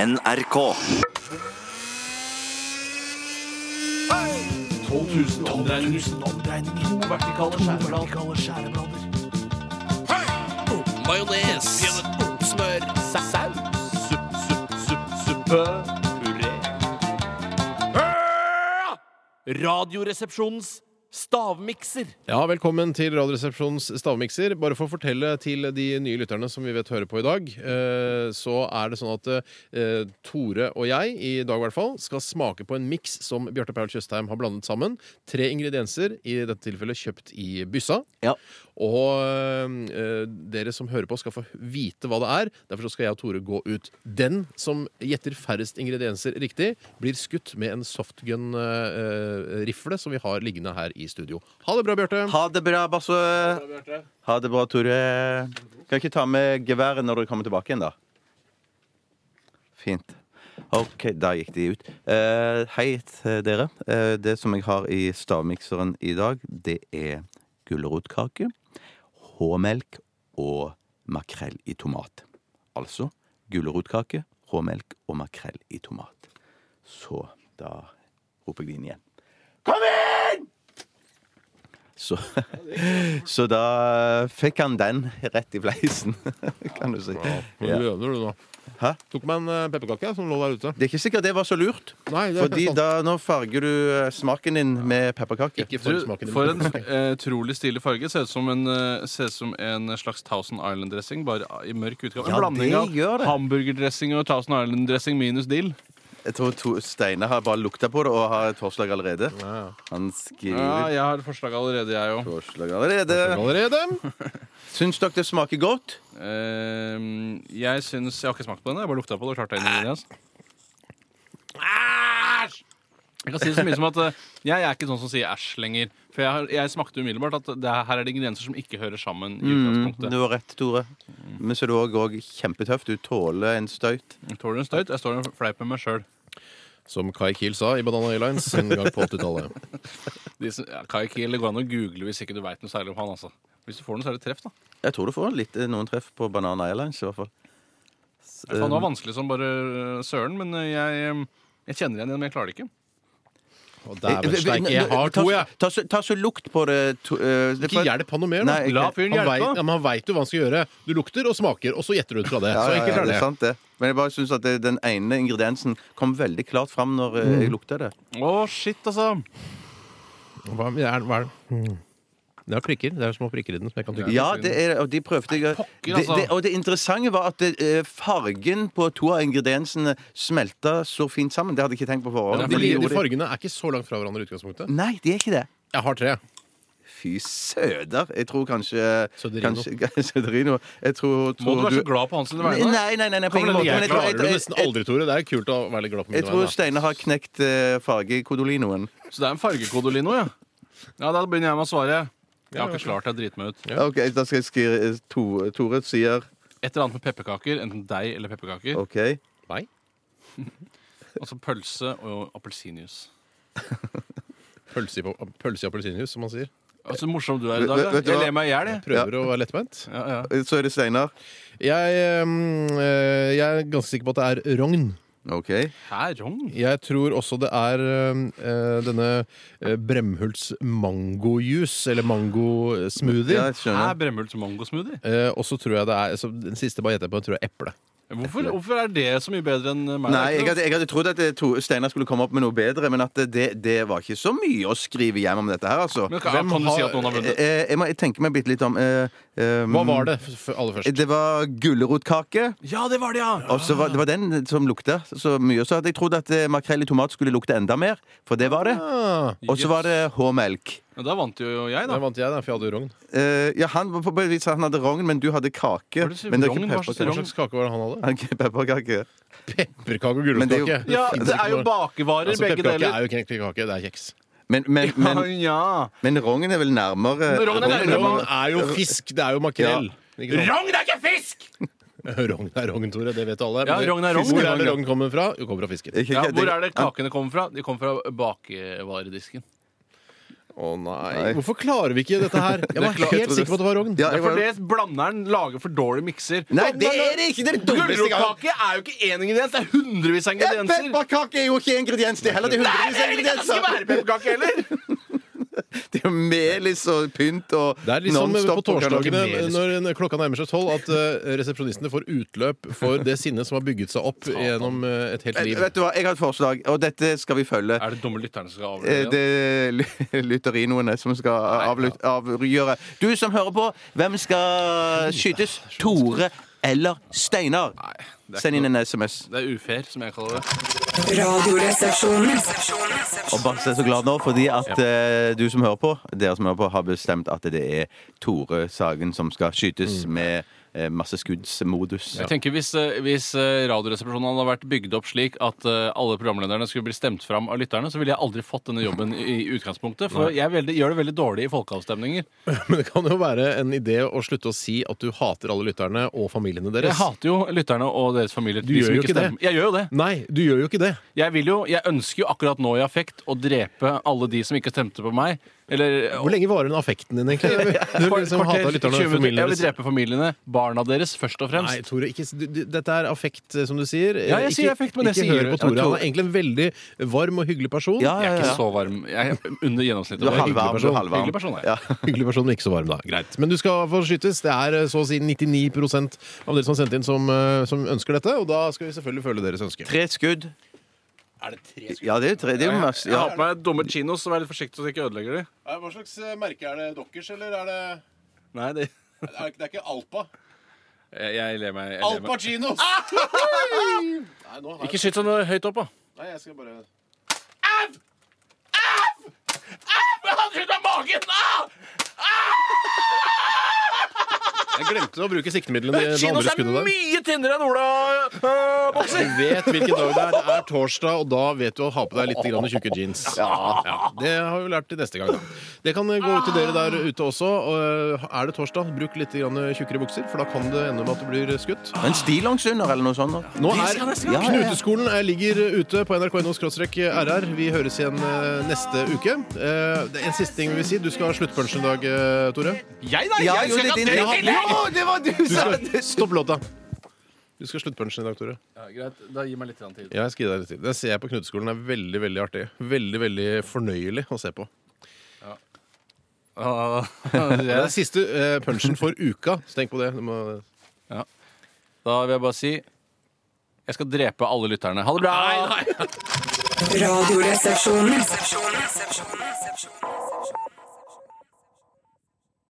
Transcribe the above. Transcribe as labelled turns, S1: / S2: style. S1: NRK.
S2: 12 000 omdreininger. To vertikale skjæreblader. Majones. Smør. Saus. Supp, supp, supp, suppe. Puré. Ah! Radioresepsjonens stavmikser.
S3: Ja, Velkommen til Radioresepsjonens stavmikser. Bare for å fortelle til de nye lytterne som vi vet hører på i dag, eh, så er det sånn at eh, Tore og jeg, i dag i hvert fall, skal smake på en miks som Bjarte Paul Tjøstheim har blandet sammen. Tre ingredienser, i dette tilfellet kjøpt i byssa.
S1: Ja.
S3: Og eh, dere som hører på, skal få vite hva det er. Derfor så skal jeg og Tore gå ut. Den som gjetter færrest ingredienser riktig, blir skutt med en softgun-rifle som vi har liggende her i studio. Ha det bra, Bjarte.
S4: Ha det bra, Basse. Eh, Ha det bra, Tore. Kan ikke ta med geværet når du kommer tilbake igjen, da? Fint. OK, da gikk de ut. Eh, hei til dere. Eh, det som jeg har i stavmikseren i dag, det er gulrotkake, håmelk og makrell i tomat. Altså gulrotkake, håmelk og makrell i tomat. Så da roper jeg det inn igjen. Så, så da fikk han den rett i fleisen, kan du si. Ja.
S3: Løver du nå?
S4: Hæ?
S3: Tok meg en eh, pepperkake som lå der ute.
S4: Det er ikke sikkert det var så lurt,
S3: Nei, det er
S4: Fordi
S3: kanskje sant.
S4: da, nå farger du eh, smaken din med pepperkake.
S3: Ikke for smaken
S5: Du,
S3: din.
S5: for en eh, utrolig stilig farge. Ser ut som en, eh, ser ut som en slags Thousand Island-dressing, bare i mørk utgave.
S4: Ja,
S5: en blanding
S4: det gjør
S5: av
S4: det.
S5: hamburgerdressing og Thousand Island-dressing minus dill.
S4: Jeg tror to- Steinar har bare lukta på det og har et forslag allerede. Han
S5: Ja,
S4: skriver
S5: jeg har et forslag allerede, jeg òg.
S4: forslag allerede.
S3: Allerede?
S4: Syns dere det smaker godt?
S5: Ehm, jeg syns Jeg har ikke smakt på den. Jeg bare lukta på det og klarte det. altså. Æsj! Jeg kan si så mye som at eh, jeg er ikke sånn som sier æsj lenger. For jeg, har, jeg smakte umiddelbart at det, her er det ingredienser som ikke hører sammen. i utgangspunktet
S4: Du har rett, Tore. Men så er du òg- òg kjempetøff. Du tåler en støyt.
S5: Tåler du en støyt? Jeg står og fleiper med meg sjøl.
S3: Som Kai Kiel sa i Banana Airlines en gang på 80-tallet.
S5: De som, ja, Kai Kiel, det går an å google hvis ikke du veit noe særlig om han. altså Hvis du får noe særlig treff, da.
S4: Jeg tror du får litt, eh, noen treff på Banana Airlines, i hvert fall.
S5: Faen, det var vanskelig som bare øh, søren, men øh, jeg, øh, jeg kjenner igjen det, men jeg klarer det ikke.
S4: Eh,
S3: Og dæven steike, jeg har to, jeg.
S4: Ta, så- ta så lukt på det. To, eh, det-
S3: Ikke hjelp han noe mer, da.
S4: Nei,
S5: La
S4: ikke-
S5: fyren
S3: Han
S5: hjelpe.
S3: veit ja, men han vet jo hva han skal gjøre. Du lukter og smaker, og så gjetter du ut fra det.
S4: Ja,
S3: Så
S4: ja,
S3: enkelt
S4: ja,
S3: er
S4: det
S3: det.
S4: er sant, det. Men jeg bare syns at det, den ene ingrediensen kom veldig klart fram når eh,
S3: Mm.
S4: jeg lukta det.
S5: Å, shit, altså.
S3: Hva er, hva er det? Det er prikker. Det er små prikker i den. som jeg kan tygge.
S4: Ja, det er, og de prøvde jeg det,
S5: altså.
S4: det, Og det interessante var at eh, fargen på to av ingrediensene smelta så fint sammen. Det hadde jeg ikke tenkt på
S5: Men
S4: forhånd.
S5: det
S3: De,
S5: er fordi-
S4: gjorde
S3: de fargene er ikke så langt fra hverandre i utgangspunktet.
S4: Nei, de er ikke det.
S3: Jeg har tre.
S4: Fy søder. Jeg tror kanskje
S3: Søderino.
S4: kanskje- Søderino. Jeg tror, tror
S5: Må du være så glad på hans sine
S4: Nei,
S5: vegne?
S4: nei, nei, nei, nei på
S5: Kommer
S4: ingen
S5: det
S4: måte. Men jeg
S5: en
S3: Jeg
S4: tror,
S3: klarer
S4: jeg,
S3: det
S4: jeg,
S3: nesten
S4: jeg,
S3: aldri, Tore. Det er kult å være litt glad på
S4: jeg
S3: mine
S4: tror
S3: vegne.
S4: Steinar har knekt eh, fargekodolinoen.
S5: Så det er en fargekode, Lino, ja. Ja, da begynner jeg med å svare. Jeg har ikke klart jeg driter meg ut.
S4: OK, da skal jeg skrive to, Tore sier
S5: Et eller annet med pepperkaker. Enten deig eller pepperkaker.
S4: OK.
S3: Nei.
S5: Altså pølse og appelsinjuice.
S3: Pølse i pa- pølse i appelsinjuice, som man sier.
S5: Altså, morsom du er
S4: Vet-
S5: i dag.
S4: vet du
S5: da.
S4: hva?
S5: Jeg ler meg i hjel, jeg.
S3: Prøver å være lettbeint.
S5: Ja, ja.
S4: Så er det Steinar.
S3: Jeg, ehm, eh, jeg er ganske sikker på at det er rogn.
S4: OK.
S5: Hæ, rogn?
S3: Jeg tror også det er ehm, eh, denne eh, Bremhults mangojuice, eller mangosmoothie.
S4: Ja, jeg
S5: Hæ,
S4: skjønner.
S5: Bremhult mangosmoothie?
S3: Eh, og så tror jeg det er så Den siste bare gjetter jeg på, tror jeg er eple.
S5: Hvorfor, hvorfor er det så mye bedre enn meg?
S4: Nei, jeg hadde, jeg hadde trodd at det- to- Steinar skulle komme opp med noe bedre, men at eh, det, det var ikke så mye å skrive hjem om dette her, altså.
S5: Men, kan, kan du si at noen har vunnet?
S4: Eh, Jeg må tenke meg bitte litt om. eh, eh,
S3: Hva var det f f aller først?
S4: Det var gulrotkake.
S5: Ja, det var det, ja!
S4: Og så var, det var den som lukta så mye. Så hadde jeg trodd at eh, makrell i tomat skulle lukte enda mer, for det var det.
S3: Ah,
S4: Og så var det H-melk.
S5: Ja, Da vant jo jeg, da.
S3: der vant jeg, da, for jeg hadde jo rogn.
S4: Eh, ja, han, var på- på et vis han hadde rogn, men du hadde kake.
S5: Hva er det som-
S4: Men det er
S5: rogn?
S4: ikke
S5: Hva slags
S3: Hva
S4: pepperkake.
S5: rogn?
S3: slags kake var det han hadde?
S4: Han er ikke Pepperkake.
S3: Pepperkake og
S4: Men det er jo-
S3: gulrotkake.
S5: Ja,
S3: finnes
S5: det
S3: ikke
S5: er jo
S3: noe-
S5: bakevarer,
S3: altså,
S5: begge
S3: Pepperkake
S5: deler.
S3: er jo ikke egentlig kake, det er kjeks.
S4: Men, men, men, men,
S5: ja.
S4: rogn er vel nærmere
S5: Rogn er nærmere.
S3: Rogn er jo fisk, det er jo makrell. Ikke sant?
S5: Rogn er ikke fisk!
S3: Rogn er rogn, Tore. Det vet alle.
S5: Ja,
S3: Men
S5: rogn er rogn.
S3: Hvor er det rogn kommer fra? Jo, kommer fra fisken.
S4: Ikke-
S5: Ja, hvor
S4: det-
S5: er det kakene kommer fra? De kommer fra bakevaredisken.
S3: Å nei. Hvorfor klarer vi ikke dette her? Jeg
S4: Det er
S3: var
S4: klart- jeg
S3: helt
S4: trodde-
S3: sikker på at det var rogn.
S4: Ja,
S5: Det
S4: jeg
S5: er fordi
S4: var-
S5: blanderen lager for dårlig mikser.
S4: Nei, det er det ikke! Det er det dummeste jeg har
S5: Gulrotkake er jo ikke én ingrediens, det er hundrevis av
S4: Ja,
S5: ingredienser.
S4: Pepperkake er jo ikke ingrediens, det er heller. Det er hundrevis av
S5: Det kan ikke
S4: ingredienser.
S5: være pepperkake heller!
S4: Det er jo melis og pynt og
S3: Det er liksom på
S4: og kan lage
S3: torsdagene
S4: melis.
S3: når en- klokka nærmer seg tolv, at eh, resepsjonistene får utløp for det sinnet som har bygget seg opp gjennom eh, et helt
S4: Eh,
S3: liv.
S4: Vet du hva, jeg har et forslag, og dette skal vi følge.
S5: Er det dumme lytterne som skal
S4: Eh,
S5: avgjøre
S4: Det er ly- lytterinoene som skal avlut- avgjøre. Du som hører på, hvem skal skytes? Tore eller Steinar?
S5: er
S4: Send inn en SMS.
S5: Det er ufair, som jeg kaller det.
S1: Radioresepsjonen.
S4: Og bare se så glad nå, fordi at eh, du som hører på, dere som hører på, har bestemt at det er Tore Sagen som skal skytes med eh, masse skuddsmodus.
S5: Mm. Jeg tenker Hvis, eh, hvis eh, Radioresepsjonen hadde vært bygd opp slik at eh, alle programlederne skulle bli stemt fram av lytterne, så ville jeg aldri fått denne jobben i i utgangspunktet. For jeg er veldig, gjør det veldig dårlig i folkeavstemninger.
S3: Men det kan jo være en idé å slutte å si at du hater alle lytterne og familiene deres.
S5: Jeg hater jo lytterne og deres familier.
S3: Du
S5: de
S3: gjør
S5: som
S3: jo ikke det.
S5: stemmer. Jeg gjør jo det.
S3: Nei, du gjør jo ikke det.
S5: Jeg, vil jo, jeg ønsker jo akkurat nå i affekt å drepe alle de som ikke stemte på meg. Eller eh,
S3: Hvor lenge varer den affekten din, egentlig? Du
S5: Kvar-
S3: liksom
S5: kvarter,
S3: hater lytterne og
S5: 20 minutter. Jeg
S3: familiene
S5: vil
S3: deres.
S5: drepe familiene, barna deres, først og fremst.
S3: Nei, Tore, ikke, du, du, dette er affekt, eh, som du sier.
S5: Ja, jeg
S3: Eh,
S5: sier affekt, men jeg
S3: ikke
S5: sier
S3: hør
S5: det.
S3: på Tore.
S5: Ja,
S3: Han
S5: Tore-
S3: er egentlig en veldig varm og hyggelig person.
S4: Ja,
S5: Jeg
S4: ja,
S5: er
S4: ja.
S5: ikke så varm. Jeg er under gjennomsnittet.
S4: Du er
S5: Jeg en hyggelig
S4: halvvarm. Du
S5: person.
S4: er halvvarm.
S5: Hyggelig person, jeg.
S4: Ja.
S3: Hyggelig person, men ikke så varm, da. Greit. Men du skal få skytes. Det er eh, så å si 99 av dere som har sendt inn, som, eh, som ønsker dette. Og da skal vi selvfølgelig følge deres ønske.
S4: Tre skudd.
S5: Er det tre skudd?
S4: Ja, det er jo tre. Det er jo masse.
S5: Jeg
S4: Ja.
S5: har på meg dumme chinos, så vær litt forsiktig så jeg ikke ødelegger de.
S3: Eh, Hva slags merke er det? Dokkers, eller er det
S5: Nei, det...
S3: Det er ikke Alpa.
S5: Jeg, jeg ler meg. Jeg ler meg.
S3: Pacino! Nei, nå
S5: Ikke skyt sånn høyt opp, da.
S3: Nei, jeg skal bare Jeg glemte å bruke siktemidlene i det andre
S5: Chinos er
S3: skuddet der.
S5: mye tynnere enn Ola-bokser!
S3: Du vet hvilken dag det er. Det er torsdag, og da vet du å ha på deg litt grann tjukke jeans. Ja, det har vi lært til neste gang. Da. Det kan eh, gå ut til dere der ute også. Og eh, er det torsdag, bruk litt grann tjukkere bukser, for da kan det ende med at du blir skutt.
S4: En stillongs under, eller noe sånt.
S3: Nå
S4: Ja,
S3: er
S4: Ah, ja, ja.
S3: Knuteskolen eh, ligger ute på nrk.no-rr. Vi høres igjen eh, neste uke. Eh, Det er en siste ting vi vil si. Du skal ha sluttpunchen i dag, eh, Tore.
S5: Jeg, da!
S4: Ja,
S5: jeg
S4: jo,
S5: skal
S4: det er
S5: ikke
S4: din.
S5: ha
S4: Ja,
S5: dere til!
S4: jo, det var du
S3: Du
S4: som
S3: skal, stopp låta. Du skal ha sluttpunchen i dag, Tore.
S5: Ja, greit, da gi meg litt grann tid.
S3: Ja, jeg skal gi deg litt tid. Det ser jeg på Knuteskolen. er veldig veldig artig. Veldig veldig fornøyelig å se på. Det er siste eh, punchen for uka, så tenk på det. Du må...
S5: Da vil jeg bare si jeg skal drepe alle lytterne. Ha det bra!
S1: Radioresepsjonen.